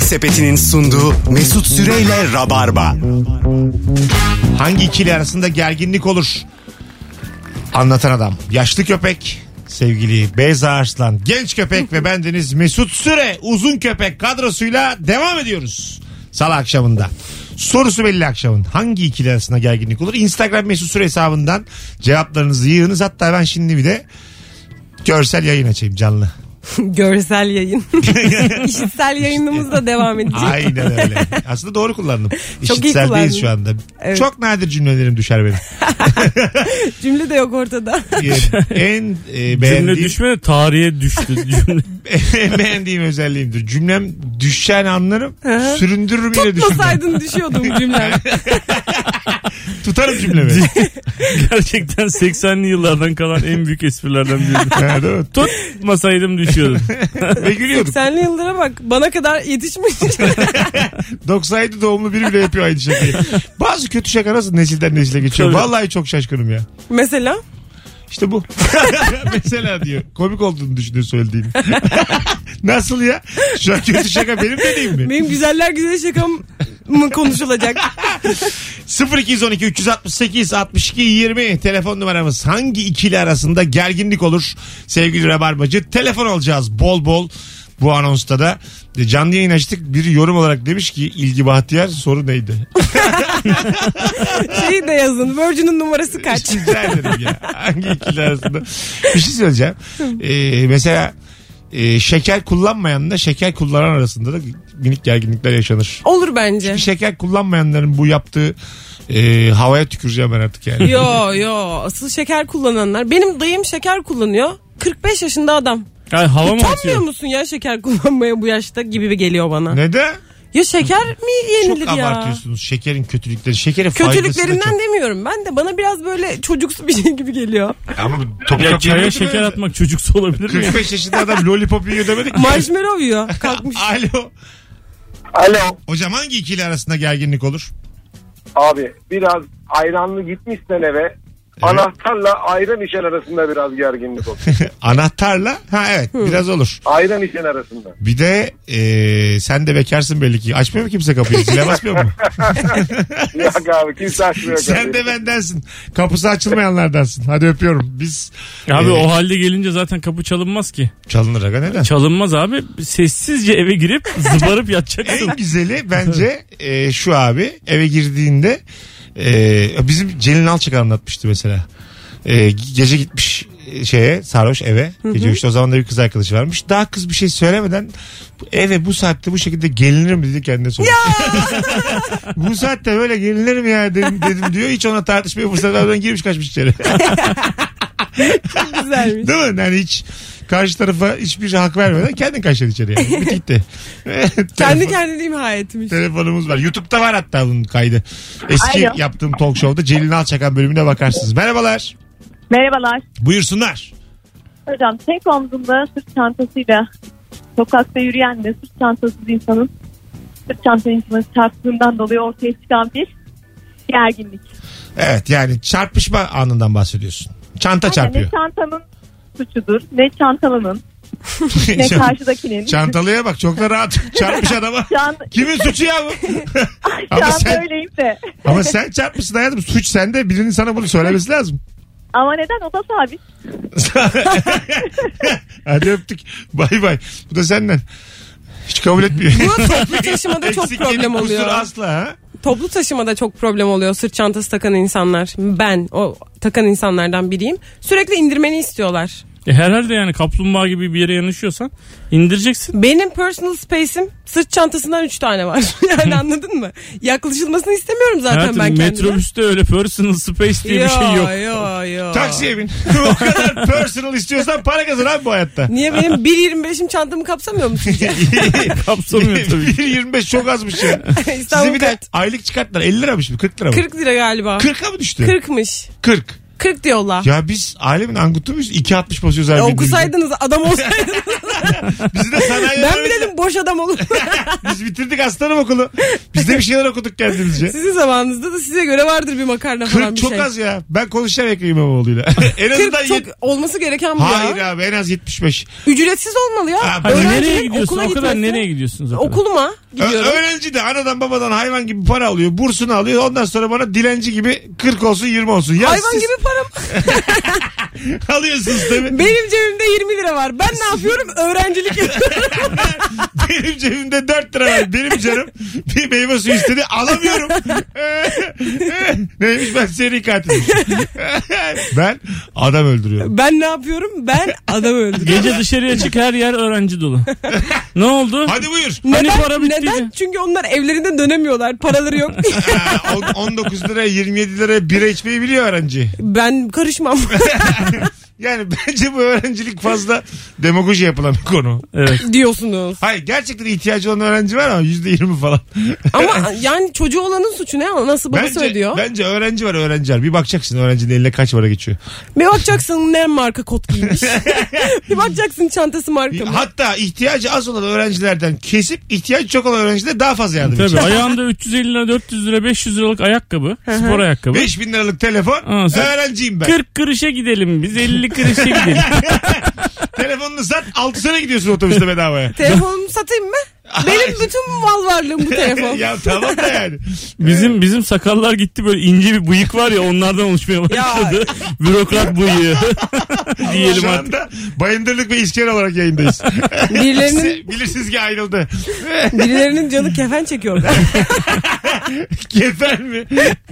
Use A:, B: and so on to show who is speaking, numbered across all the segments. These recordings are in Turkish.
A: Sepeti'nin sunduğu Mesut Süreyle Rabarba.
B: Hangi ikili arasında gerginlik olur? Anlatan adam. Yaşlı köpek sevgili Beyza Arslan. Genç köpek ve bendeniz Mesut Süre uzun köpek kadrosuyla devam ediyoruz. Salı akşamında. Sorusu belli akşamın. Hangi ikili arasında gerginlik olur? Instagram Mesut Süre hesabından cevaplarınızı yığınız. Hatta ben şimdi bir de görsel yayın açayım canlı.
C: Görsel yayın. İşitsel yayınımız da devam edecek.
B: Aynen öyle. Aslında doğru kullandım.
C: Çok iyi
B: İşitsel
C: kullandın.
B: değiliz şu anda.
C: Evet.
B: Çok nadir cümlelerim düşer benim.
C: Cümle de yok ortada.
B: Ee, en e,
D: Cümle
B: beğendiğim,
D: düşmedi tarihe düştü cümle.
B: en beğendiğim özelliğimdir. Cümlem düşen anlarım,
C: Hı.
B: süründürürüm yine düşünürüm.
C: Tutmasaydın düşüyordum cümle.
B: Tutarım cümlemi.
D: Gerçekten 80'li yıllardan kalan en büyük esprilerden biri.
B: Ha, değil mi?
D: Tutmasaydım düşüyordum.
B: Ve gülüyorduk.
C: 80'li yıllara bak bana kadar yetişmiş.
B: 97 doğumlu biri bile yapıyor aynı şakayı. Bazı kötü şaka nasıl nesilden nesile geçiyor.
D: Tabii.
B: Vallahi çok şaşkınım ya.
C: Mesela
B: İşte bu. Mesela diyor. Komik olduğunu düşünüyor söylediğini. nasıl ya? Şu an kötü şaka benim de değil mi?
C: benim güzeller güzel şakam mı konuşulacak?
B: 0212 368 62 20 telefon numaramız. Hangi ikili arasında gerginlik olur sevgili Rabarbacı? Telefon alacağız bol bol bu anonsta da. E, Canlı yayın açtık. Biri yorum olarak demiş ki ilgi bahtiyar soru neydi?
C: Şeyi de yazın. Virgin'in numarası kaç?
B: Rica ederim ya. Hangi ikili arasında? Bir şey söyleyeceğim. E, mesela e, şeker kullanmayanla şeker kullanan arasında da minik gerginlikler yaşanır.
C: Olur bence.
B: Şeker kullanmayanların bu yaptığı e, havaya tüküreceğim ben artık yani.
C: Yo yo asıl şeker kullananlar. Benim dayım şeker kullanıyor. 45 yaşında adam.
D: Yani hava mı
C: Utanmıyor
D: atıyor?
C: musun ya şeker kullanmaya bu yaşta gibi bir geliyor bana.
B: Neden?
C: Ya şeker mi
B: Çok
C: yenilir ya?
B: abartıyorsunuz şekerin kötülükleri. Şekerin faydası da
C: Kötülüklerinden
B: çok.
C: demiyorum ben de bana biraz böyle çocuksu bir şey gibi geliyor.
B: Ama toprak
D: Ya çaya
B: yemiyordu
D: şeker
B: böyle.
D: atmak çocuksu olabilir mi?
B: 45 yaşında adam lollipop yiyor demedik mi?
C: Marshmallow yiyor kalkmış.
B: Alo.
E: Alo
B: Hocam hangi ikili arasında gerginlik olur?
E: abi biraz ayranlı gitmişsen eve anahtarla ayran içen arasında biraz gerginlik olur.
B: Anahtarla? Ha evet biraz olur.
E: ayran içen arasında.
B: Bir de e, sen de bekarsın belli ki. Açmıyor mu kimse kapıyı? Zile basmıyor mu?
E: Yok abi kimse açmıyor.
B: sen de bendensin. Kapısı açılmayanlardansın. Hadi öpüyorum. Biz
D: Abi
C: Ee.
B: e,
D: o halde gelince zaten kapı çalınmaz ki.
B: çalınır aga neden?
D: Çalınmaz abi. Sessizce eve girip zıbarıp yatacaksın.
B: En güzeli bence e, şu abi eve girdiğinde e, bizim Celil Alçak anlatmıştı mesela. E, gece gitmiş e, şeye sarhoş eve gece üçte o zaman da bir kız arkadaşı varmış. Daha kız bir şey söylemeden bu eve bu saatte bu şekilde gelinir mi dedi kendine sormuş. bu saatte böyle gelinir mi ya dedim, dedim diyor. Hiç ona tartışmaya fırsat vermeden girmiş kaçmış içeri.
C: Güzelmiş.
B: Değil mi? Yani hiç karşı tarafa hiçbir hak vermeden kendin kaçtın içeri yani. Bitti gitti.
C: Kendi kendini imha etmiş.
B: telefonumuz var. YouTube'da var hatta bunun kaydı. Eski
F: Alo.
B: yaptığım talk show'da Celil Alçakan bölümüne bakarsınız. Merhabalar.
F: Merhabalar.
B: Buyursunlar.
F: Hocam tek omzumda sırt çantasıyla sokakta yürüyen ve sırt çantasız insanın sırt çantasını çarptığından dolayı ortaya çıkan bir gerginlik.
B: Evet yani çarpışma anından bahsediyorsun. Çanta
F: Yani ne
B: çarpıyor.
F: çantanın suçudur ne çantalının ne karşıdakinin.
B: Çantalıya bak çok da rahat çarpmış adama.
F: Can,
B: Kimin suçu ya bu?
F: şu
B: ama,
F: an
B: sen,
F: böyleyim de.
B: ama sen çarpmışsın hayatım. Suç sende. Birinin sana bunu söylemesi lazım.
F: Ama neden o da sabit.
B: Hadi öptük. Bay bay. Bu da senden. Hiç kabul etmiyor.
C: Bu toplu taşımada çok
B: Eksiklik,
C: problem oluyor.
B: Kusur asla ha.
C: Toplu taşımada çok problem oluyor sırt çantası takan insanlar. Ben o takan insanlardan biriyim. Sürekli indirmeni istiyorlar.
D: E herhalde yani kaplumbağa gibi bir yere yanaşıyorsan indireceksin.
C: Benim personal space'im sırt çantasından 3 tane var. Yani anladın mı? Yaklaşılmasını istemiyorum zaten
D: Hayatım,
C: ben kendime.
D: metrobüste öyle personal space diye bir şey yok.
C: Yo, yo.
B: Taksiye bin. o kadar personal istiyorsan para kazan abi bu hayatta.
C: Niye benim 1.25'im çantamı kapsamıyor mu sizce?
D: Kapsamıyor tabii.
B: 1.25 çok azmış ya. Size
C: İstanbul
B: bir de
C: kaç?
B: aylık çıkarttılar. 50 lira mı şimdi? 40 lira mı?
C: 40 lira galiba.
B: 40'a mı düştü? 40.
C: 40'mış. 40 diyorlar.
B: Ya biz alemin angutu muyuz? 2.60 basıyoruz her
C: Ya
B: birbirimize.
C: okusaydınız adam olsaydınız.
B: Bizi de sanayi
C: Ben
B: öğretmeni-
C: bilelim boş adam olur.
B: Biz bitirdik aslanım okulu. Biz de bir şeyler okuduk kendimizce.
C: Sizin zamanınızda da size göre vardır bir makarna falan
B: 40
C: bir
B: çok
C: şey.
B: az ya. Ben konuşacağım Ekrem İmamoğlu'yla. en azından
C: 40 çok
B: yet-
C: olması gereken bu
B: Hayır
C: ya.
B: abi en az 75.
C: Ücretsiz olmalı ya.
B: Ha,
D: Hani
C: Öğrencinin
D: nereye gidiyorsun?
C: okula
D: O kadar
C: gitmesi-
D: nereye gidiyorsun zaten?
C: Okuluma
B: Ö-
C: gidiyorum.
B: öğrenci de anadan babadan hayvan gibi para alıyor. Bursunu alıyor. Ondan sonra bana dilenci gibi 40 olsun 20 olsun. Ya
C: Hayvan
B: siz
C: gibi param.
B: alıyorsunuz tabii.
C: Benim cebimde 20 lira var. Ben ne yapıyorum? Öğrencilik yapıyorum.
B: Benim cebimde 4 lira var. Benim canım bir meyve suyu istedi. Alamıyorum. Neymiş ben seri katilim. ben adam öldürüyorum.
C: ben ne yapıyorum? Ben adam öldürüyorum.
D: Gece dışarıya çık her yer öğrenci dolu. ne oldu?
B: Hadi buyur.
D: Hani
C: Neden?
D: para bittiydi?
C: Neden? Çünkü onlar evlerinden dönemiyorlar. Paraları yok.
B: Ha, Ee, on- 19 liraya 27 liraya bira içmeyi biliyor öğrenci.
C: ben karışmam.
B: Yani bence bu öğrencilik fazla demagoji yapılan bir konu.
D: Evet.
C: diyorsunuz.
B: Hayır gerçekten ihtiyacı olan öğrenci var ama %20 falan.
C: Ama yani çocuğu olanın suçu ne? Nasıl babası
B: Bence,
C: ödüyor?
B: bence öğrenci var öğrenciler. Bir bakacaksın öğrencinin eline kaç para geçiyor.
C: Bir bakacaksın ne marka kot giymiş. bir bakacaksın çantası marka mı?
B: Hatta ihtiyacı az olan öğrencilerden kesip ihtiyacı çok olan öğrenciler daha fazla yardım
D: Tabii
B: edecek.
D: ayağında 350 lira 400 lira 500 liralık ayakkabı. spor ayakkabı.
B: 5000 liralık telefon.
D: Aa, sen-
B: Öğrenciyim ben.
D: 40 kırışa gidelim biz 50 kırışa gidelim.
B: Telefonunu sat 6 sene gidiyorsun otobüste bedavaya.
C: Telefonumu satayım mı? Benim bütün mal varlığım bu telefon.
B: ya tamam da yani.
D: Bizim bizim sakallar gitti böyle ince bir bıyık var ya onlardan oluşmaya başladı. Bürokrat bıyığı diyelim
B: Şu
D: artık.
B: anda Bayındırlık ve İsker olarak yayındayız.
C: Birilerinin
B: Bilirsiniz ki ayrıldı.
C: birilerinin canı kefen çekiyor.
B: Kefen mi?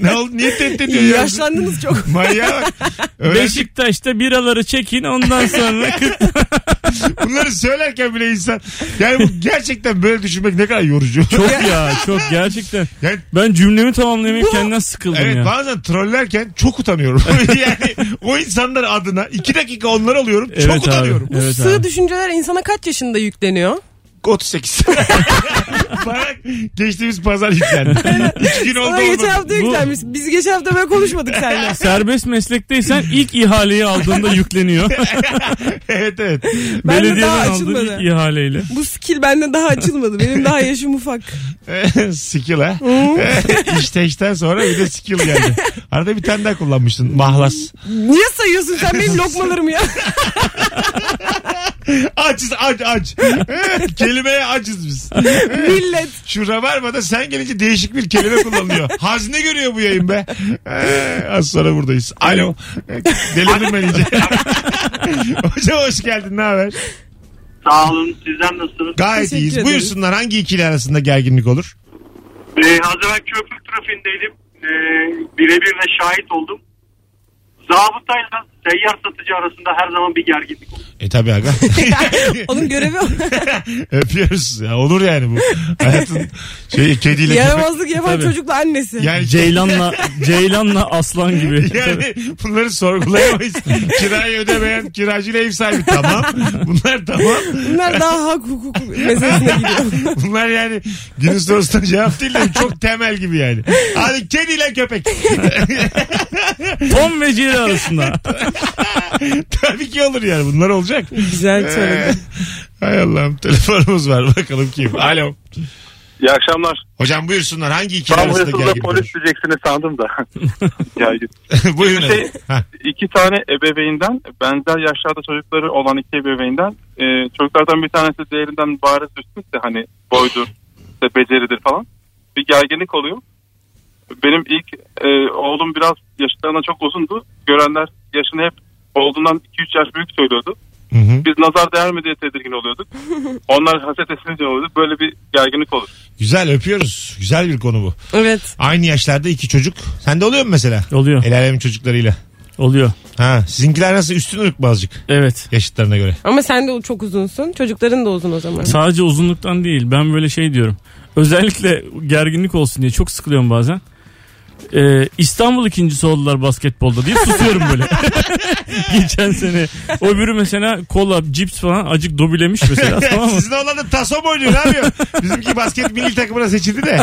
B: Ne oldu? Niye tehdit ediyor? ya?
C: Yaşlandınız çok.
B: Manyağa bak. Öğrenci,
D: Beşiktaş'ta biraları çekin ondan sonra 40
B: bunları söylerken bile insan yani bu gerçekten böyle düşünmek ne kadar yorucu.
D: Çok ya çok gerçekten.
B: Yani-
D: Ben cümlemi tamamlamaya kendimden sıkıldım
B: Evet
D: ya.
B: bazen trollerken çok utanıyorum. yani o insanlar adına iki dakika onlar alıyorum çok
D: Evet abi.
B: utanıyorum.
C: Bu
D: Evet
C: sığ
D: abi.
C: düşünceler insana kaç yaşında yükleniyor?
B: 38. Bana geçtiğimiz pazar yüklendi. İki gün oldu
C: Sana geçen
B: olmadı.
C: hafta yüklenmiş. Biz geçen hafta böyle konuşmadık seninle.
D: Serbest meslekteysen ilk ihaleyi aldığında yükleniyor.
B: Evet evet.
C: Ben de daha
D: Belediyeden aldığın
C: açılmadı.
D: ilk ihaleyle.
C: Bu skill bende daha açılmadı. Benim daha yaşım ufak.
B: skill ha. işte işten sonra bir de skill geldi. Arada bir tane daha kullanmıştın. Mahlas.
C: Niye sayıyorsun sen benim lokmalarımı ya?
B: Açız aç aç. Kelimeye açız biz.
C: Millet.
B: Şu Rabarba'da sen gelince değişik bir kelime kullanılıyor. Hazne görüyor bu yayın be. Ee, az sonra buradayız. Alo. Delirdim ben iyice. Hocam hoş geldin ne haber?
G: Sağ olun. Sizden nasılsınız?
B: Gayet
C: Teşekkür
B: iyiyiz.
C: ederiz.
B: Buyursunlar hangi ikili arasında gerginlik olur?
G: Ee, az evvel köprü trafiğindeydim. Ee, birebir de şahit oldum. Zabıtayla seyyar satıcı arasında her zaman bir gerginlik olur.
B: E tabi aga.
C: Onun görevi o.
B: Öpüyoruz. Ya, olur yani bu. Hayatın şey, kediyle köpek.
C: yaramazlık yapan
D: Tabii.
C: çocukla annesi.
B: Yani
D: Ceylan'la Ceylan'la aslan gibi.
B: Yani bunları sorgulayamayız. Kirayı ödemeyen kiracıyla ev sahibi tamam. Bunlar tamam.
C: Bunlar daha hak hukuk meselesine gidiyor.
B: Bunlar yani günün sorusuna cevap değil de çok temel gibi yani. Hadi kediyle köpek.
D: Tom ve Jerry arasında.
B: Tabii ki olur yani bunlar olacak.
C: Güzel
B: Ee,
C: söyledin.
B: Hay Allah'ım telefonumuz var bakalım kim. Alo.
E: İyi akşamlar.
B: Hocam buyursunlar hangi iki
E: Tam
B: arasında
E: hırsızla
B: gergin
E: polis diyeceksini sandım da. yani
B: olur? Buyurun.
E: Şey-
B: efendim. Ha,
E: iki tane ebeveynden benzer yaşlarda çocukları olan iki ebeveynden e, çocuklardan bir tanesi diğerinden bariz üstünse hani boydur, işte beceridir falan bir gerginlik oluyor. Benim ilk e, oğlum biraz yaşlarına çok uzundu. Görenler yaşını hep olduğundan 2-3 yaş büyük söylüyordu.
B: hı hı.
E: Biz nazar değer mi diye tedirgin oluyorduk. Onlar haset esince oluyorduk. Böyle bir gerginlik olur.
B: Güzel öpüyoruz. Güzel bir konu bu.
C: Evet.
B: Aynı yaşlarda iki çocuk. Sende oluyor mu mesela?
D: Oluyor.
B: El alemin çocuklarıyla.
D: Oluyor.
B: Ha, sizinkiler nasıl üstün ırk mı azıcık
D: Evet.
B: yaşıtlarına göre?
C: Ama sen de çok uzunsun. Çocukların da uzun o zaman.
D: Sadece uzunluktan değil. Ben böyle şey diyorum. Özellikle gerginlik olsun diye çok sıkılıyorum bazen. e, İstanbul ikincisi oldular basketbolda diye susuyorum böyle. Geçen sene. Öbürü mesela kola, cips falan acık dobilemiş mesela tamam mı?
B: Sizin oğlan da taso mu oynuyor ne yapıyor? Bizimki basket milli takımına seçildi de.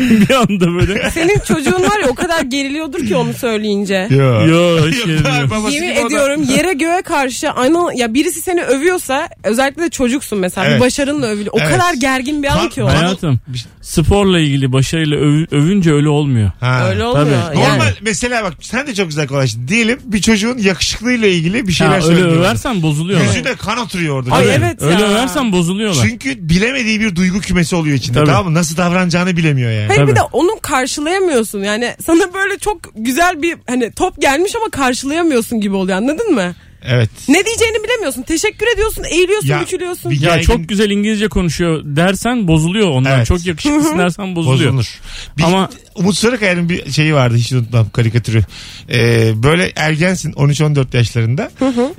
D: Bir anda böyle.
C: Senin çocuğun var ya o kadar geriliyordur ki onu söyleyince.
B: Yo.
D: Yo hiç gelmiyor.
B: babası
C: Yemin
B: gibi o da-
C: ediyorum yere göğe karşı ana ya birisi seni övüyorsa özellikle de çocuksun mesela
B: Evet.
C: bir başarınla övülüyor. O
B: Evet.
C: kadar gergin bir şey- an
B: Kan-
C: ki o.
B: Hayat-
D: Hayatım sporla ilgili başarıyla öv- övünce öyle olmuyor.
B: Ha.
C: Öyle olmuyor.
D: Tabii.
C: Yani.
B: Normal mesela bak sen de çok güzel konuştun. Diyelim bir çocuğun yakışıklığıyla ilgili bir şeyler
D: Ha, öyle
B: söylüyor.
D: översen bozuluyorlar.
B: Yüzüne kan oturuyor orada.
C: Ay
B: Tabii.
C: evet
D: öyle
C: ya.
D: översen bozuluyorlar.
B: Çünkü bilemediği bir duygu kümesi oluyor içinde.
D: Tabii.
B: Tamam mı? Nasıl davranacağını bilemiyor yani.
C: Hayır bir
D: Tabii.
C: de onu karşılayamıyorsun yani sana böyle çok güzel bir hani top gelmiş ama karşılayamıyorsun gibi oluyor anladın mı?
B: Evet.
C: Ne diyeceğini bilemiyorsun teşekkür ediyorsun eğiliyorsun
B: Ya,
C: bükülüyorsun.
B: bir-
D: Ya
B: Yaygın-
D: çok güzel İngilizce konuşuyor dersen bozuluyor onlar.
B: Evet.
D: Çok yakışıklısın dersen bozuluyor.
B: Bozulur. Bir,
D: Ama-
B: Umut Sarıkaya'nın bir şeyi vardı hiç unutmam karikatürü. Ee, böyle ergensin 13-14 yaşlarında.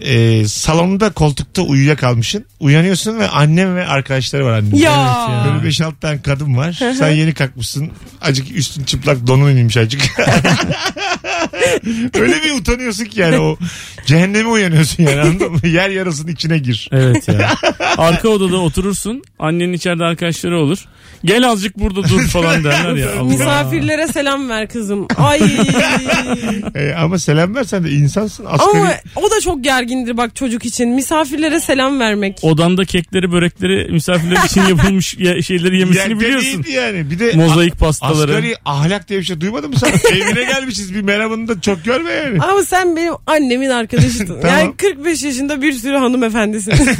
B: Ee, salonda koltukta uyuyakalmışsın. Uyanıyorsun ve annem ve arkadaşları var annenin.
C: Ya. Evet ya.
B: Böyle 5-6 tane kadın var. Sen yeni kalkmışsın. Acık üstün çıplak donun inmiş acık. Öyle bir utanıyorsun ki yani o cehenneme uyanıyorsun yani anladın mı? Yer yarasının içine gir.
D: Evet ya. Arka odada oturursun. Annenin içeride arkadaşları olur. Gel azıcık burada dur falan derler ya. Allah.
C: Misafirlere selam ver kızım. Ay.
B: Ee, ama selam versen de insansın. Asgari...
C: Ama o da çok gergindir bak çocuk için. Misafirlere selam vermek.
D: Odanda kekleri, börekleri misafirler için yapılmış ye- şeyleri yemesini
B: Yani
D: biliyorsun.
B: deliydi yani. Bir de
D: Mozaik pastaları.
B: Asgari ahlak diye bir şey duymadın mı sen? Evine gelmişiz bir merhabını da çok görme yani.
C: Ama sen benim annemin arkadaşısın.
B: Tamam.
C: Yani 45 yaşında bir sürü hanımefendisiniz.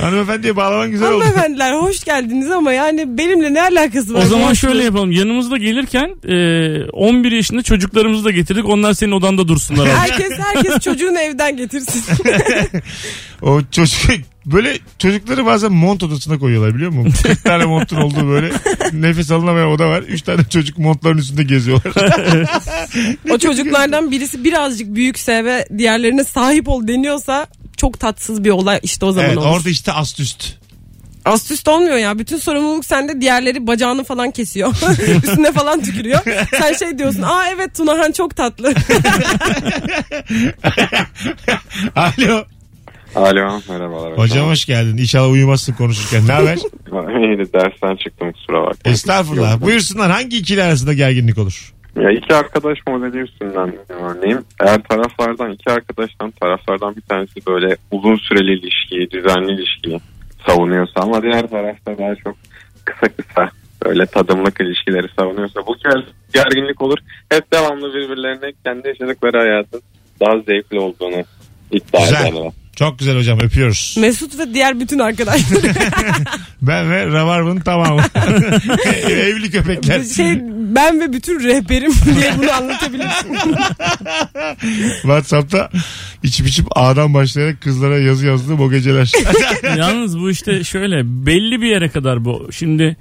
B: Hanımefendiye bağlaman güzel oldu.
C: Hanımefendiler hoş geldiniz ama yani benimle ne alakası var?
D: O zaman
C: Hoş
D: şöyle yapalım. Yanımızda gelirken e, 11 yaşında çocuklarımızı da getirdik. Onlar senin odanda dursunlar. abi.
C: Herkes herkes çocuğunu evden getirsin.
B: O çocuk böyle çocukları bazen mont odasına koyuyorlar biliyor musun? 40 tane montun olduğu böyle nefes alınamayan oda var. 3 tane çocuk montların üstünde geziyorlar.
C: o çocuklardan birisi birazcık büyükse ve diğerlerine sahip ol deniyorsa çok tatsız bir olay işte o zaman
B: evet,
C: olur.
B: orada işte ast üst.
C: Ast üst olmuyor ya. Bütün sorumluluk sende. Diğerleri bacağını falan kesiyor. Üstüne falan tükürüyor. Sen şey diyorsun. Aa evet Tunahan çok tatlı.
B: Alo.
H: Alo merhabalar.
B: Hocam hoş geldin. İnşallah uyumazsın konuşurken. Ne haber?
H: Yeni dersten çıktım kusura bakma.
B: Estağfurullah. Buyursunlar hangi ikili arasında gerginlik olur?
H: Ya iki arkadaş modeli üstünden örneğin. Eğer taraflardan iki arkadaştan taraflardan bir tanesi böyle uzun süreli ilişkiyi, düzenli ilişkiyi savunuyorsa ama diğer tarafta daha çok kısa kısa böyle tadımlık ilişkileri savunuyorsa bu kez gerginlik olur. Hep devamlı birbirlerine kendi yaşadıkları hayatın daha zevkli olduğunu iddia
B: Güzel.
H: ederler.
B: Çok güzel hocam öpüyoruz.
C: Mesut ve diğer bütün arkadaşları.
B: Ben ve Ravarva'nın tamamı. Evli köpekler.
C: şey, ben ve bütün rehberim diye bunu anlatabilirsin.
B: Whatsapp'ta içip içip A'dan başlayarak kızlara yazı yazdığım o geceler.
D: Yalnız bu işte şöyle belli bir yere kadar bu. Şimdi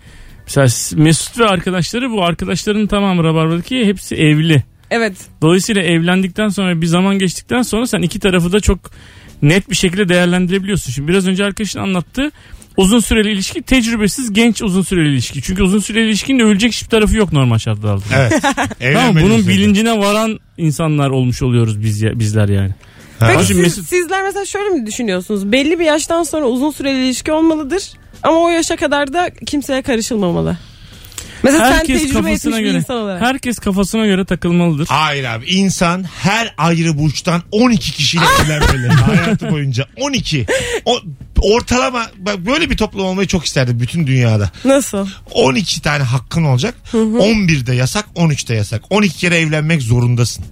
D: mesela Mesut ve arkadaşları bu arkadaşların tamamı Rabarba'daki hepsi evli.
C: evet.
D: Dolayısıyla evlendikten sonra bir zaman geçtikten sonra sen iki tarafı da çok net bir şekilde değerlendirebiliyorsun. Şimdi biraz önce arkadaşın anlattı. Uzun süreli ilişki tecrübesiz genç uzun süreli ilişki. Çünkü uzun süreli ilişkinin ölecek hiçbir tarafı yok normal şartlarda.
B: evet.
D: Tamam
B: Evlenmediniz
D: bunun
B: dedi.
D: bilincine varan insanlar olmuş oluyoruz biz ya- bizler yani.
B: Ha.
C: Peki
D: Hacı
C: siz-
D: Mesut-
C: sizler mesela şöyle mi düşünüyorsunuz? Belli bir yaştan sonra uzun süreli ilişki olmalıdır. Ama o yaşa kadar da kimseye karışılmamalı. Mesela sen
D: Herkes
C: tecrübe etmiş
D: kafasına
C: bir
D: göre
C: insan olarak.
D: herkes kafasına göre takılmalıdır.
B: Hayır abi insan her ayrı burçtan 12 kişiyle
C: Ah!
B: evlenmeli hayatı boyunca 12. O, ortalama bak böyle bir toplum olmayı çok isterdim bütün dünyada.
C: Nasıl?
B: 12 tane hakkın olacak. 11'de yasak, 13'te yasak. 12 kere evlenmek zorundasın.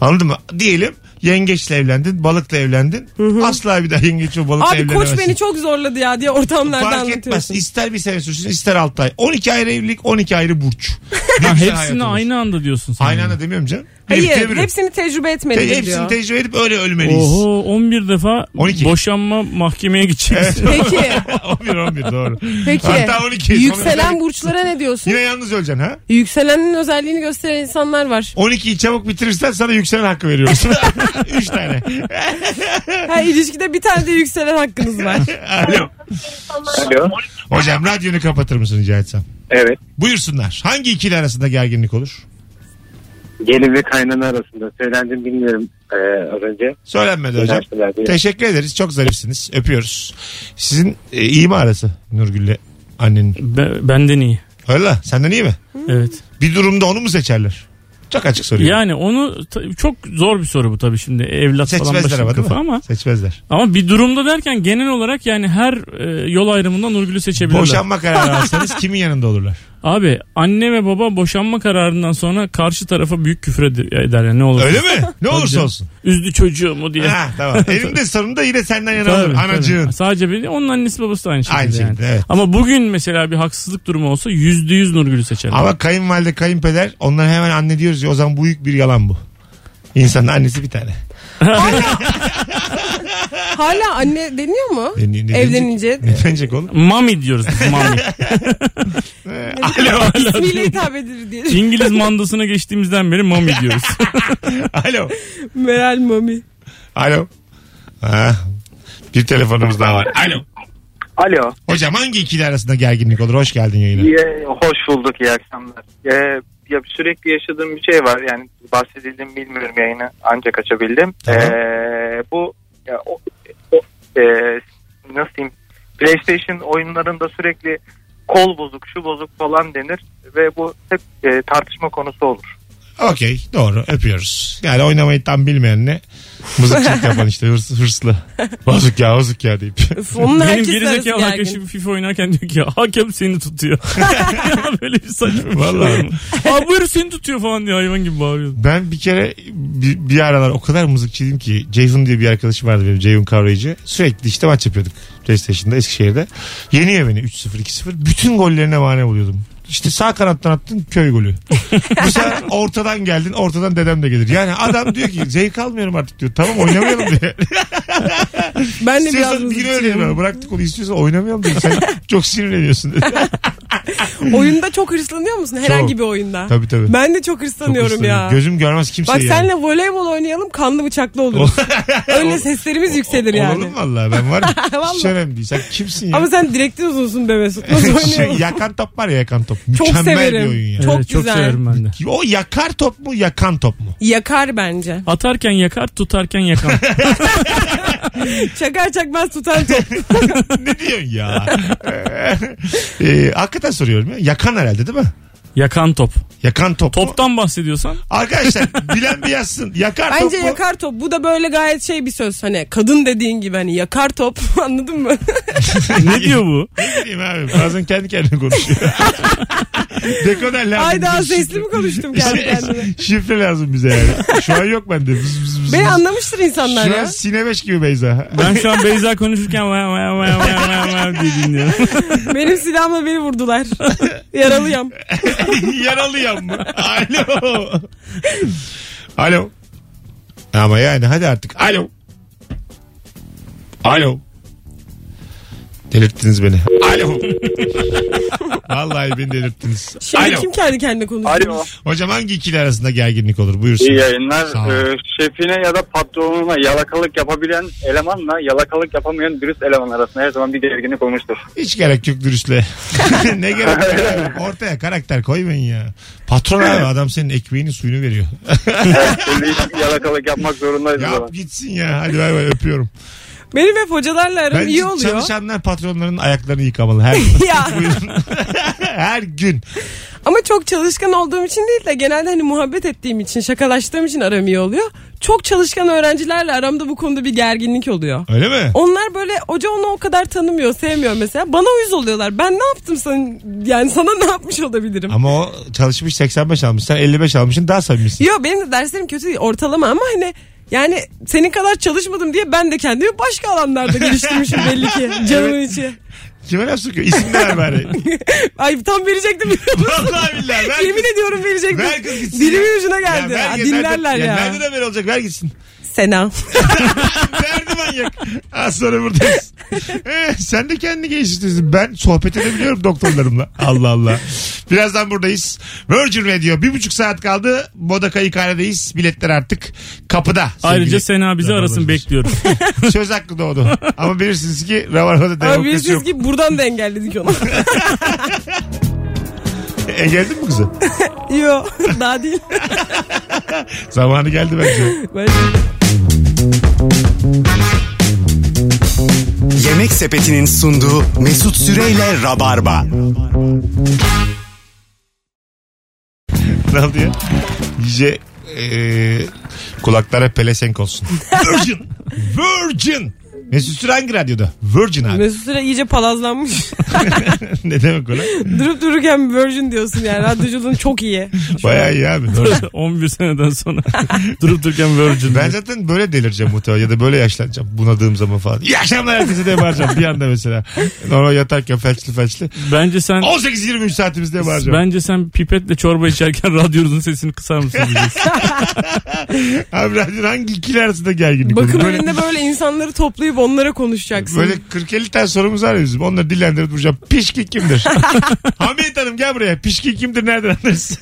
B: Anladın mı? Diyelim yengeçle evlendin, balıkla evlendin. Asla bir daha yengeç ve balıkla
C: Abi koç
B: evlenemezsin.
C: beni çok zorladı ya diye ortamlarda
B: Fark etmez.
C: anlatıyorsun.
B: İster bir sene sürsün ister 6 ay. 12 ayrı evlilik 12 ayrı burç.
D: Ha,
B: Hepsini
D: hepsini aynı anda diyorsun sen.
B: Aynı anda demiyorum canım.
C: Hayır
B: Birlikte yürü.
C: hepsini tecrübe etmeli
B: Te-
C: diyor.
B: hepsini tecrübe edip öyle ölmeliyiz.
D: Oho 11 defa
B: 12.
D: boşanma mahkemeye gideceksin.
C: Peki
B: 11 11 doğru.
C: peki.
B: Hatta 12.
C: Yükselen
B: Sonra-
C: burçlara ne diyorsun?
B: Yine yalnız öleceksin ha?
C: Yükselenin özelliğini gösteren insanlar var.
B: 12'yi çabuk bitirirsen sana yükselen hakkı veriyoruz. Üç tane.
C: Her ilişkide bir tane de yükselen hakkınız var.
B: Alo.
H: Alo.
B: Hocam radyonu kapatır mısın rica etsem?
H: Evet.
B: Buyursunlar. Hangi ikili arasında gerginlik olur?
H: Gelin ve kaynana arasında. Söylendim bilmiyorum
E: e,
H: ee, az önce.
B: Söylenmedi hocam.
H: Üniversiteler diye.
B: Teşekkür ederiz. Çok zarifsiniz. Öpüyoruz. Sizin e, iyi mi arası Nurgül'le annenin?
D: Be- benden iyi.
B: Öyle. Senden iyi mi?
D: Evet.
B: Bir durumda onu mu seçerler? Çok açık soruyorum.
D: Yani onu ta- çok zor bir soru bu tabii şimdi. Evlat falan
B: Seçmezler
D: başka
B: ama değil
D: kafa
B: mi?
D: ama.
B: Seçmezler.
D: Ama bir durumda derken genel olarak yani her e, yol ayrımından Nurgül'ü seçebilirler.
B: Boşanma kararı alsanız kimin yanında olurlar?
D: Abi anne ve baba boşanma kararından sonra karşı tarafa büyük küfür ed- ederler ne olur.
B: Öyle mi? Ne olursa
D: canım.
B: olsun.
D: Üzdü çocuğumu diye.
B: Ha, tamam. Elimde sonunda yine senden yana
D: Tabii,
B: olur.
D: tabii.
B: Anacığın.
D: Sadece bir onun annesi babası da aynı şekilde.
B: Aynı
D: yani.
B: şekilde, evet.
D: Ama bugün mesela bir haksızlık durumu olsa yüzde yüz Nurgül'ü seçerim.
B: Ama kayınvalide kayınpeder onlara hemen anne diyoruz ya o zaman büyük bir yalan bu. İnsanın annesi bir tane.
C: Hala anne deniyor mu?
B: Ne- ne- ne
C: Evlenince.
B: denecek? Ne denecek oğlum?
D: Mami diyoruz biz mami.
B: Alo.
C: İsmiyle hitap edilir diye.
D: İngiliz mandasına geçtiğimizden beri mami diyoruz.
B: Alo.
C: Meral Mami.
B: Alo. Ha. Bir telefonumuz daha var. Alo.
I: Alo.
B: Hocam hangi ikili arasında gerginlik olur? Hoş geldin yayına.
I: İyi- hoş bulduk. iyi akşamlar. Ee, ya sürekli yaşadığım bir şey var. Yani bahsedildim bilmiyorum yayını. Ancak açabildim.
B: Tamam.
I: Ee, bu ya, o, o- e, nasıl diyeyim? PlayStation oyunlarında sürekli kol bozuk, şu bozuk falan denir ve bu hep e, tartışma konusu olur.
B: Okey doğru öpüyoruz. Yani oynamayı tam bilmeyenle mızıkçılık yapan işte hırs, hırslı. Bozuk ya bozuk ya deyip.
C: Öf, Onun
D: Benim
C: herkes arası
D: gerizekalı
C: gergin.
D: arkadaşım FIFA oynarken diyor ki hakem seni tutuyor. ya böyle bir saçma bir şey
B: Vallahi.
D: olur mu? Aa buyur seni tutuyor falan diye hayvan gibi bağırıyor.
B: Ben bir kere bir, bir aralar o kadar mızıkçıydım ki Ceyhun diye bir arkadaşım vardı benim Ceyhun kavrayıcı. Sürekli işte maç yapıyorduk PlayStation'da Eskişehir'de. Yeniyor beni 3-0 2-0. Bütün gollerine mane oluyordum. İşte sağ kanattan attın köy golü. Bu sefer ortadan geldin ortadan dedem de gelir. Yani adam diyor ki zevk almıyorum artık diyor. Tamam oynamayalım diyor.
C: Ben de biraz
B: İstiyorsan bir gün öyle
C: mızıkçıyım.
B: yapalım. Bıraktık onu istiyorsan oynamayalım diyor. Sen çok sinirleniyorsun dedi.
C: Oyunda çok hırslanıyor musun? Herhangi
B: Çok.
C: bir oyunda.
B: Tabii tabii.
C: Ben de çok
B: Çok
C: hırslanıyorum
B: hırslanıyorum.
C: ya.
B: Gözüm şey görmez kimseyi.
C: Bak
B: yani.
C: senle voleybol oynayalım kanlı bıçaklı oluruz. Öyle seslerimiz yükselir yani.
B: Olalım vallahi ben varım. Hiç
C: Vallahi.
B: önemli değil. Sen kimsin ya?
C: Ama sen direktin uzunsun be Mesut. Nasıl
B: şey,
C: oynayalım?
B: yakan top var ya yakan top.
C: Çok
B: Mükemmel bir
C: severim.
B: oyun ya.
C: Çok
D: Evet, çok
C: güzel.
D: severim ben de.
B: O yakar top mu yakan top mu?
C: Yakar bence.
D: Atarken yakar tutarken yakar.
C: Çakar çakmaz tutar top.
B: ne diyorsun ya? ee, hakikaten soruyorum ya. Yakan herhalde değil mi?
D: yakan top.
B: Yakan top mu?
D: Toptan bahsediyorsan
B: Arkadaşlar bilen bir yazsın. Yakar top
C: Bence
B: mu?
C: yakar top. Bu da böyle gayet şey bir söz. Hani kadın dediğin gibi hani yakar top. Anladın mı?
D: ne diyor bu?
B: Ne bileyim abi bazen kendi kendine konuşuyor. Dekoder lazım.
C: Ay
B: bize
C: daha
B: şifre.
C: sesli mi konuştum kendi kendime?
B: Şifre lazım bize yani. Şu an yok bende. Vız vız vız
C: Beni
B: vız.
C: anlamıştır insanlar
B: Şu an
C: ya.
B: sinebeş gibi Beyza.
D: Ben şu an Beyza konuşurken vay vay vay vay vay vay diye dinliyorum.
C: Benim silahımla beni vurdular. Yaralıyım.
B: Yaralıyam mı? Alo. Alo. Ama yani hadi artık. Alo. Alo. Delirttiniz beni. Alo. Vallahi beni delirttiniz.
C: Şimdi
B: Alo.
C: kim kendi kendine konuşuyor?
E: Alo.
B: Hocam hangi ikili arasında gerginlik olur? Buyursun.
E: İyi yayınlar.
B: Sağ ol.
E: Ee, şefine ya da patronuna yalakalık yapabilen elemanla yalakalık yapamayan dürüst eleman arasında her zaman bir gerginlik olmuştur.
B: Hiç gerek yok dürüstle. ne gerek var? Ortaya karakter koymayın ya. Patron abi adam senin ekmeğini suyunu veriyor.
E: Şimdi yalakalık yapmak zorundayız. o zaman.
B: Yap gitsin ya. Hadi bay bay öpüyorum.
C: Benim hep hocalarla aram
B: Bence
C: iyi oluyor.
B: çalışanlar patronların ayaklarını yıkamalı her gün.
C: ya.
B: Buyurun. Her gün.
C: Ama çok çalışkan olduğum için değil de genelde hani muhabbet ettiğim için, şakalaştığım için aram iyi oluyor. Çok çalışkan öğrencilerle aramda bu konuda bir gerginlik oluyor.
B: Öyle mi?
C: Onlar böyle hoca onu o kadar tanımıyor, sevmiyor mesela. Bana uyuz oluyorlar. Ben ne yaptım sen yani sana ne yapmış olabilirim?
B: Ama o çalışmış 85 almış. Sen 55 almışsın daha samimisin.
C: Yo benim de derslerim kötü değil ortalama ama hani yani senin kadar çalışmadım diye ben de kendimi başka alanlarda geliştirmişim belli ki canımın içi.
B: Kime laf sokuyor? İsim de ver bari.
C: Ay tam verecektim biliyor musun?
B: Vallahi billahi. Ver
C: Yemin
B: kız-
C: ediyorum verecektim.
B: Ver kız gitsin. ya.
C: Dilimin ucuna geldi.
B: ver
C: Ha,
B: gel,
C: dinlerler
B: nereden-
C: ya.
B: Nereden haber olacak? Ver gitsin.
C: Sena.
B: Verdi manyak. Az sonra buradayız. Ee, sen de kendini geliştirdin. Ben sohbet edebiliyorum doktorlarımla. Allah Allah. Birazdan buradayız. Virgin Radio. Bir buçuk saat kaldı. Moda Kayıkhane'deyiz. Biletler artık kapıda. sevgili
D: Ayrıca Sena bizi arasın
B: rabarbacılar.
D: bekliyoruz.
B: Söz hakkı doğdu. Ama bilirsiniz ki Rabarba'da
C: Ama
B: demokrasi
C: bilirsiniz
B: yok.
C: ki buradan da engelledik onu.
B: E, geldin mi kızı?
C: Yok daha değil.
B: Zamanı geldi bence.
C: Böyle-
A: Yemek Sepeti'nin sunduğu Mesut Süreyle Rabarba.
B: ne oldu ya? İyice e, kulaklara pelesenk olsun. Virgin. Virgin. Mesut Süre hangi radyoda? Virgin abi.
C: Mesut Süre iyice palazlanmış.
B: ne demek o lan?
C: Durup dururken virgin diyorsun yani. Radyoculuğun çok iyi.
B: Bayağı iyi abi. Virgin.
D: 11 seneden sonra durup dururken Virgin.
B: Ben zaten böyle delireceğim muhtemelen ya da böyle yaşlanacağım bunadığım zaman falan. İyi akşamlar herkese diye bağıracağım bir anda mesela. Normal yatarken felçli felçli.
D: Bence sen
B: 18-23 saatimiz diye bağıracağım.
D: bence sen pipetle çorba içerken radyonuzun sesini kısar mısın? diyeceksin.
B: Abi radyo hangi ikili arasında gerginlik
C: Bakım
B: olur? Hani Böyle,
C: evinde böyle insanları toplayıp onlara konuşacaksın.
B: böyle 40-50 tane sorumuz var ya bizim. Onları dillendirip duracağım. Pişki kimdir? Hamiyet Hanım gel buraya. Pişki kimdir nereden anlarız?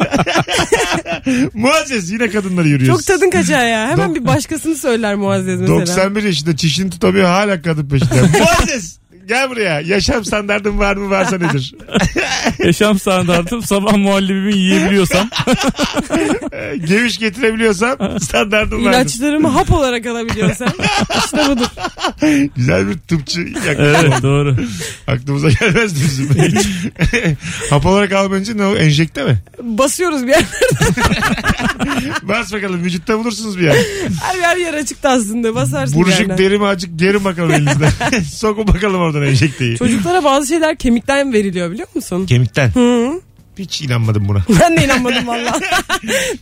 B: Muazzez yine kadınları yürüyoruz.
C: Çok tadın kaçar ya. Hemen bir başkasını söyler Muazzez mesela.
B: 91 yaşında çişini tutamıyor hala kadın peşinde. Muazzez gel buraya. Yaşam standartın var mı varsa nedir?
D: Yaşam standartım sabah muhallebimi yiyebiliyorsam
B: Ee, Geviş getirebiliyorsan standartın vardır.
C: İlaçlarımı hap olarak alabiliyorsan işte budur.
B: Güzel bir tıpçı yaklaşım
D: Evet
B: oldu.
D: doğru.
B: Aklımıza gelmezdi bizim. Hiç. Hap olarak almayınca ne o? Enjekte mi?
C: Basıyoruz bir yerlere.
B: Bas bakalım vücutta bulursunuz bir yer.
C: Her yer yer açıkta aslında. Basarsın bir
B: Buruşuk
C: yerden.
B: deri mi acık gerin bakalım elinizden. Sokun bakalım oradan enjekteyi.
C: Çocuklara bazı şeyler kemikten veriliyor biliyor musun?
B: Kemikten. Hiç inanmadım buna.
C: Ben de inanmadım valla.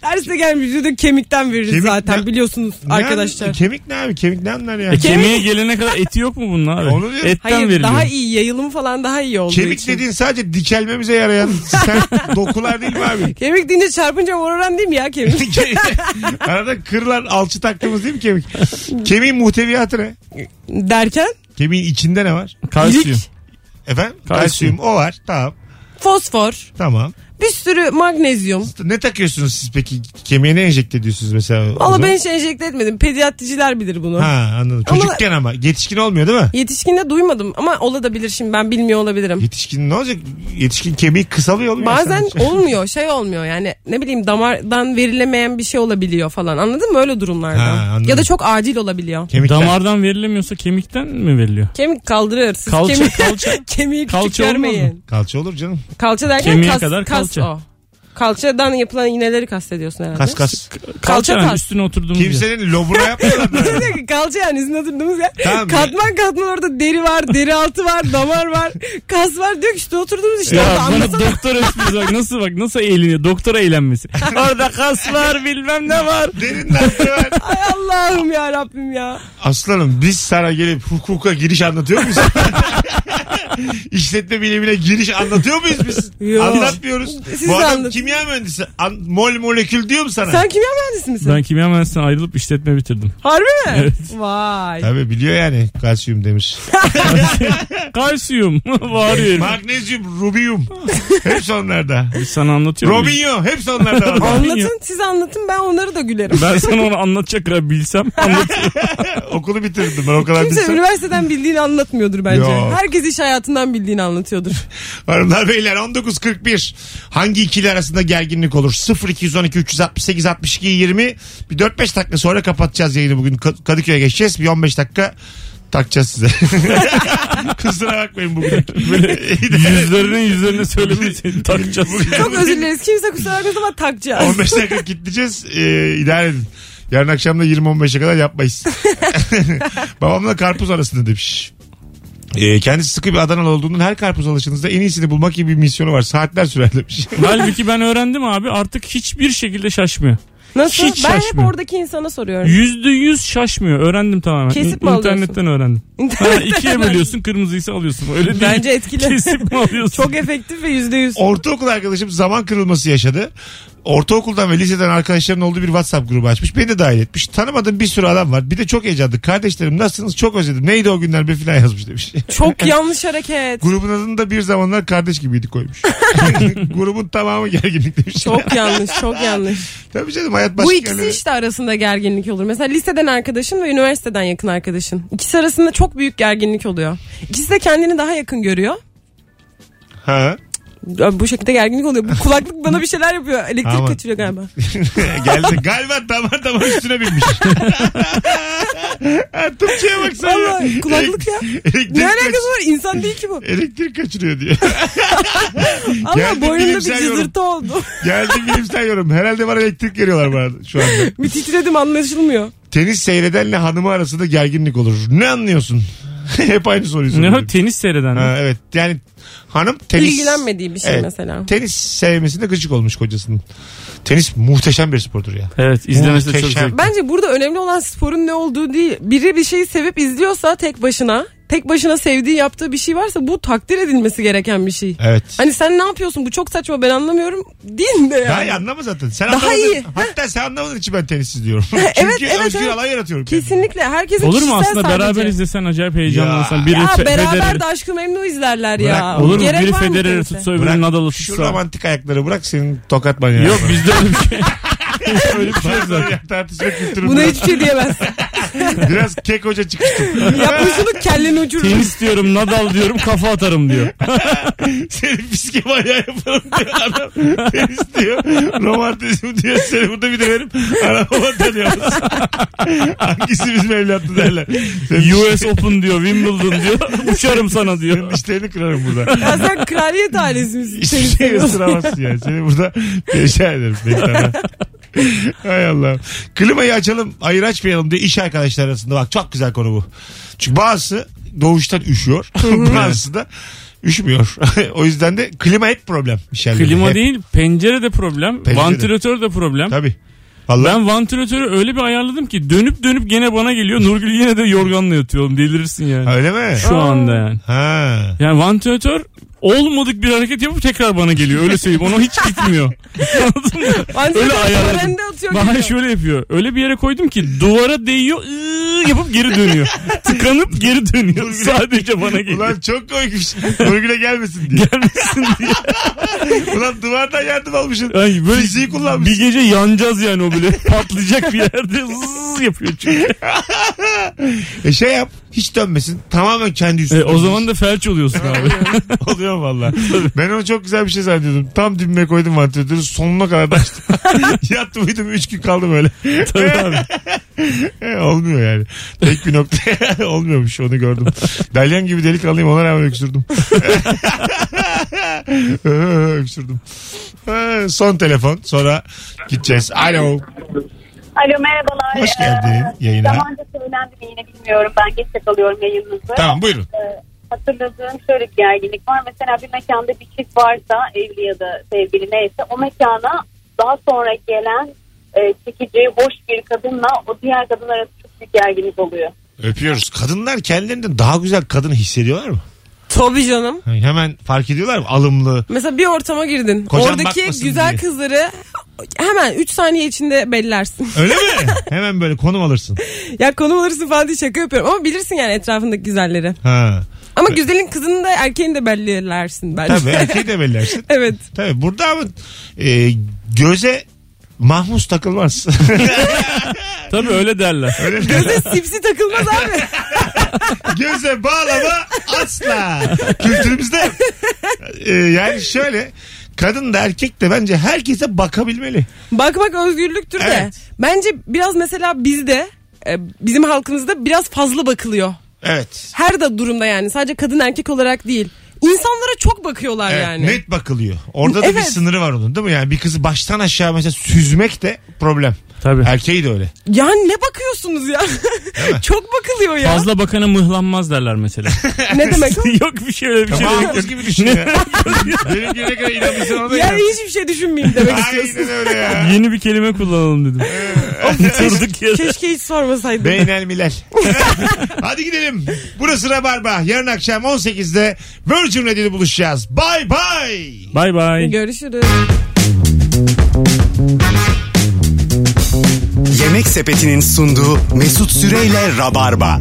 C: Derste gelmiş diyor kemikten veririz
B: Kemik
C: zaten
B: ne-
C: biliyorsunuz
B: Ne
C: arkadaşlar.
B: abi? Kemik ne abi? Kemik ne anlar ya?
D: E, kemiğe gelene kadar eti yok mu bunun abi?
B: Onu diyorum.
D: Etten
C: Hayır
D: veriliyor.
C: daha iyi yayılımı falan daha iyi olduğu
B: Kemik
C: için.
B: dediğin sadece dikelmemize yarayan sert dokular değil mi abi?
C: Kemik deyince çarpınca moran değil mi ya kemik?
B: Arada kırılan alçı taktığımız değil mi kemik? Kemiğin muhteviyatı ne?
C: Derken
B: Kemiğin içinde ne var?
D: Kalsiyum.
B: Efendim?
D: Kalsiyum.
B: Kalsiyum. O var. Tamam.
C: fosfor,
B: Tamam.
C: bir sürü magnezyum.
B: Ne takıyorsunuz siz peki? Kemiğe ne enjekte ediyorsunuz mesela? O
C: Valla
B: zaman-
C: ben hiç enjekte etmedim. Pediatriciler bilir bunu.
B: Ha anladım.
C: Ama-
B: Çocukken ama. Yetişkin olmuyor değil mi?
C: Yetişkinde duymadım ama olabilir şimdi ben bilmiyor olabilirim.
B: Yetişkin ne olacak? Yetişkin kemiği kısalıyor olmuyor.
C: Bazen
B: sadece.
C: olmuyor şey olmuyor yani ne bileyim damardan verilemeyen bir şey olabiliyor falan anladın mı öyle durumlarda.
B: Ha, anladım.
C: ya da çok acil olabiliyor.
B: Kemikler.
D: Damardan verilemiyorsa kemikten mi veriliyor?
C: Kemik kaldırır. Siz
D: Kalça,
C: kemik-
D: kalça.
C: kemiği küçük
D: Kalça olmaz mı?
C: görmeyin.
B: Kalça olur canım.
C: Kalça derken
D: Kemiğe
C: kas,
D: kadar
C: kas
D: kalça.
C: o. Kalçadan yapılan iğneleri kastediyorsun herhalde.
B: Kas kas.
D: Kalça yani
C: kas.
D: üstüne oturduğumuz yer.
B: Kimsenin lobuna yapmıyorlar.
C: Bir dakika, kalça yani sizin oturduğunuz yer.
B: Tamam.
C: katman katman orada deri var, deri altı var, damar var, kas var. Diyor ki işte oturduğumuz işte orada
D: Ya bana
C: anlasana.
D: doktor esprisi bak nasıl bak nasıl eğleniyor doktora eğlenmesi. Orada kas var bilmem ne var.
B: Derin nakli var.
C: Ay Allah'ım ya Rabbim ya.
B: Aslanım biz sana gelip hukuka giriş anlatıyor muyuz? İşletme bilimine giriş anlatıyor muyuz biz?
C: Yok.
B: Anlatmıyoruz.
C: Siz
B: Bu
C: de
B: adam
C: anlatın.
B: kimya mühendisi. An- mol molekül diyor mu sana?
C: Sen kimya mühendisi misin?
D: Ben kimya mühendisinden ayrılıp işletme bitirdim.
C: Harbi mi?
D: Evet.
C: Vay.
B: Tabii biliyor yani kalsiyum demiş.
D: Kalsiyum bağırıyor. herif.
B: Magnezyum, rubium. Hepsi onlarda.
D: Biz sana anlatıyorum.
B: Robinho hepsi onlarda. var.
C: Anlatın siz anlatın ben onları da gülerim.
D: Ben sana onu anlatacak kadar bilsem anlatırım.
B: Okulu bitirdim ben o kadar
C: Kimse
B: bilsem.
C: üniversiteden bildiğini anlatmıyordur bence.
B: Yok.
C: Herkes iş hayatından bildiğini anlatıyordur.
B: Hanımlar beyler 19.41 hangi ikili arasında gerginlik olur? 0212 368 62 20 bir 4-5 dakika sonra kapatacağız yayını bugün Ka- Kadıköy'e geçeceğiz bir 15 dakika takacağız size. Kusura bakmayın bugün.
D: Yüzlerine yüzlerine söylemeyi takacağız.
C: Çok özür dileriz. Kimse kusura bakmasın ama takacağız.
B: 15 dakika gideceğiz. Ee, idare edin. Yarın akşam da 20-15'e kadar yapmayız. Babamla karpuz arasında demiş. Ee, kendisi sıkı bir Adanalı olduğundan her karpuz alışınızda en iyisini bulmak gibi bir misyonu var. Saatler sürer demiş.
D: Halbuki ben öğrendim abi artık hiçbir şekilde şaşmıyor.
C: Nasıl?
D: Hiç
C: ben hep
D: şaşmıyor.
C: oradaki insana soruyorum.
D: Yüzde yüz şaşmıyor. Öğrendim tamamen.
C: Kesip mi
D: İn-
C: alıyorsun?
D: İnternetten öğrendim. Ha, ikiye bölüyorsun kırmızıysa alıyorsun. Öyle değil.
C: Bence etkili.
D: Kesip mi alıyorsun?
C: Çok efektif ve yüzde yüz.
B: Ortaokul arkadaşım zaman kırılması yaşadı. ortaokuldan ve liseden arkadaşların olduğu bir WhatsApp grubu açmış. Beni de dahil etmiş. Tanımadığım bir sürü adam var. Bir de çok heyecanlı. Kardeşlerim nasılsınız? Çok özledim. Neydi o günler be filan yazmış demiş.
C: Çok yanlış hareket.
B: Grubun adını da bir zamanlar kardeş gibiydi koymuş. Grubun tamamı gerginlik demiş.
C: Çok yanlış, çok yanlış.
B: Tabii canım hayat başka
C: Bu ikisi
B: yerlere-
C: işte arasında gerginlik olur. Mesela liseden arkadaşın ve üniversiteden yakın arkadaşın. İkisi arasında çok büyük gerginlik oluyor. İkisi de kendini daha yakın görüyor.
B: Ha.
C: Abi bu şekilde gerginlik oluyor. Bu kulaklık bana bir şeyler yapıyor. Elektrik
B: Aman.
C: kaçırıyor galiba.
B: Geldi. Galiba damar damar üstüne binmiş. Tupçuya baksana.
C: Vallahi kulaklık ya.
B: Elektrik,
C: Ne
B: kaç-
C: alakası var? İnsan değil ki bu.
B: elektrik kaçırıyor diyor. Geldi
C: Ama boynunda bir
B: bilimsel yorum.
C: cızırtı oldu.
B: Geldi bilimsel yorum. Herhalde bana elektrik veriyorlar bana şu anda.
C: bir titredim anlaşılmıyor.
B: Tenis seyredenle hanımı arasında gerginlik olur. Ne anlıyorsun? Hep aynı soruyu
D: Ne
B: soruyorum.
D: o tenis seyreden.
B: Ha, evet yani hanım tenis...
C: İlgilenmediği bir şey
B: Evet.
C: mesela.
B: Tenis sevmesinde gıcık olmuş kocasının. Tenis muhteşem bir spordur ya.
D: Evet izlemesi de çok
B: Muhteşem.
D: zevkli.
C: Bence burada önemli olan sporun ne olduğu değil. Biri bir şeyi sevip izliyorsa tek başına, tek başına sevdiği yaptığı bir şey varsa bu takdir edilmesi gereken bir şey.
B: Evet.
C: Hani sen ne yapıyorsun? Bu çok saçma ben anlamıyorum. Değil de
B: Daha
C: yani.
B: iyi anlama zaten. Sen
C: Daha
B: anlamadın.
C: iyi.
B: Hatta sen anlamadığın için ben tenisiz diyorum. Çünkü
C: evet, evet,
B: özgür
C: evet.
B: alan yaratıyorum. kendime.
C: Kesinlikle herkesin
D: Olur mu
C: kişisel
D: aslında
C: sadece.
D: beraber izlesen acayip heyecanlanırsan.
B: Ya.
D: Biri
C: Ya
D: Fe-
C: beraber
D: Federer'i-
C: de aşkı memnu izlerler ya.
B: Bırak,
D: Olur mu?
C: Gerek
D: Biri
C: var mı
D: Federer'i
C: tenise?
D: tutsa
B: Bırak
D: öbürü Nadal'ı
B: şu
D: tutsa.
B: romantik ayakları bırak senin tokat manyağı.
D: Yok bizde öyle bir şey. öyle bir şey yok zaten.
B: Ya, Tartışma kültürü
C: Buna
B: bırak.
C: hiçbir şey diyemezsin.
B: Biraz kek hoca çıkıştım.
C: Yapmışsınlık kelleni uçurur.
D: Tenis diyorum Nadal diyorum kafa atarım diyor.
B: Seni psike manyağı yaparım diyor adam. Tenis diyor. Romantizm diyor. Seni burada bir de benim arabama tanıyoruz. Hangisi bizim evlattı derler. Senin
D: US Open diyor Wimbledon diyor. Uçarım sana
B: Senin
D: diyor.
B: dişlerini kırarım burada.
C: Ya sen kraliyet ailesi misin?
B: Hiçbir
C: Tenis
B: şey
C: seviyorsun.
B: ısıramazsın yani. Seni burada yaşa ederim. Beni tanı. Hay Allah. Klimayı açalım, ayır açmayalım diye iş arkadaşlar arasında bak çok güzel konu bu. Çünkü bazısı doğuştan üşüyor. bazısı da üşümüyor. o yüzden de klima hep problem. iş yerlerinde.
D: Klima
B: Hep.
D: değil pencere de problem.
B: Pencere.
D: Vantilatör de problem.
B: Tabii. Vallahi
D: Ben vantilatörü öyle bir ayarladım ki dönüp dönüp gene bana geliyor. Nurgül yine de yorganla yatıyorum delirirsin yani.
B: öyle mi?
D: Şu anda yani.
B: Ha.
D: Yani vantilatör olmadık bir hareket yapıp tekrar bana geliyor. Öyle söyleyeyim. Onu hiç bitmiyor. Anladın mı?
C: Anca
D: Öyle ayarladım.
C: törende atıyor
D: Bana
C: geliyor.
D: şöyle yapıyor. Öyle bir yere koydum ki duvara değiyor ıı yapıp geri dönüyor. Tıkanıp geri dönüyor. Sadece bana geliyor.
B: Ulan çok koymuş. Nurgül'e gelmesin diye.
D: Gelmesin diye.
B: Ulan duvardan yardım almışsın.
D: Ay böyle
B: Fiziği kullanmış.
D: bir gece yanacağız yani o böyle. Patlayacak bir yerde ıı yapıyor çünkü.
B: E şey yap. Hiç dönmesin. Tamamen kendi üstüne.
D: E, o zaman da felç oluyorsun abi.
B: Oluyor valla. ben onu çok güzel bir şey zannediyordum. Tam dibime koydum vantilatörü sonuna kadar da açtım. Yattım uyudum 3 gün kaldım öyle.
D: Tabii abi.
B: E, Olmuyor yani. Tek bir nokta olmuyormuş onu gördüm. Dalyan gibi delik alayım ona rağmen öksürdüm. Öh, öksürdüm. E, Son telefon sonra gideceğiz. Alo.
F: Alo merhabalar.
B: Hoş geldin
F: Ee,
B: yayına.
F: Zamanca söylendi mi yine bilmiyorum. Ben geç yakalıyorum yayınınızı.
B: Tamam buyurun.
F: Ee, hatırladığım şöyle bir gerginlik var. Mesela bir mekanda bir çift varsa evli ya da sevgili neyse o mekana daha sonra gelen e, çekici boş bir kadınla o diğer kadın arası çok büyük gerginlik oluyor.
B: Öpüyoruz. Kadınlar kendilerinden daha güzel kadın hissediyorlar mı? Hani
C: Tabii canım.
B: Hemen fark ediyorlar mı? Alımlı.
C: Mesela bir ortama girdin.
B: Kocan
C: Oradaki
B: bakmasın
C: güzel
B: diye.
C: kızları hemen 3 saniye içinde bellersin.
B: Öyle mi? Hemen böyle konum alırsın.
C: ya konum alırsın falan diye şaka yapıyorum. Ama bilirsin yani etrafındaki güzelleri.
B: Ha.
C: Ama güzelin kızını da erkeğini de bellersin bence.
B: Tabii erkeği de bellersin.
C: evet.
B: Tabii burada ama e, göze mahmus takılmaz.
D: Tabii öyle derler.
B: Öyle mi?
C: Göze sipsi takılmaz abi.
B: göze bağlama asla. Kültürümüzde e, yani şöyle kadın da erkek de bence herkese bakabilmeli.
C: Bakmak özgürlüktür de.
B: Evet.
C: Bence biraz mesela bizde e, bizim halkımızda biraz fazla bakılıyor.
B: Evet.
C: Her da durumda yani. Sadece kadın erkek olarak değil. İnsanlara çok bakıyorlar
B: Evet,
C: yani.
B: Net bakılıyor. Orada da bir
C: Evet.
B: sınırı var onun değil mi? Yani bir kızı baştan aşağı mesela süzmek de problem.
D: Tabii.
B: Erkeği de öyle.
C: Yani ne bakıyorsunuz ya? çok bakılıyor ya.
D: Fazla bakana mıhlanmaz derler mesela.
C: Ne demek o?
D: Yok bir şey öyle bir şey. yok.
B: Mahmuz gibi düşün ya. Benim gelene kadar inanmışsın ona da
C: Yani
B: inan.
C: hiçbir şey düşünmeyeyim demek istiyorsun.
B: Aynen öyle ya.
D: Yeni bir kelime kullanalım dedim. Oturduk yere.
C: Keşke hiç sormasaydım.
B: Beynel Milal. Hadi gidelim. Burası Rabarba. Yarın akşam 18'de Virgin Radio'da buluşacağız. Bay bay.
D: Bay bay.
C: Görüşürüz.
A: Yemek Sepeti'nin sunduğu Mesut Süreyle Rabarba.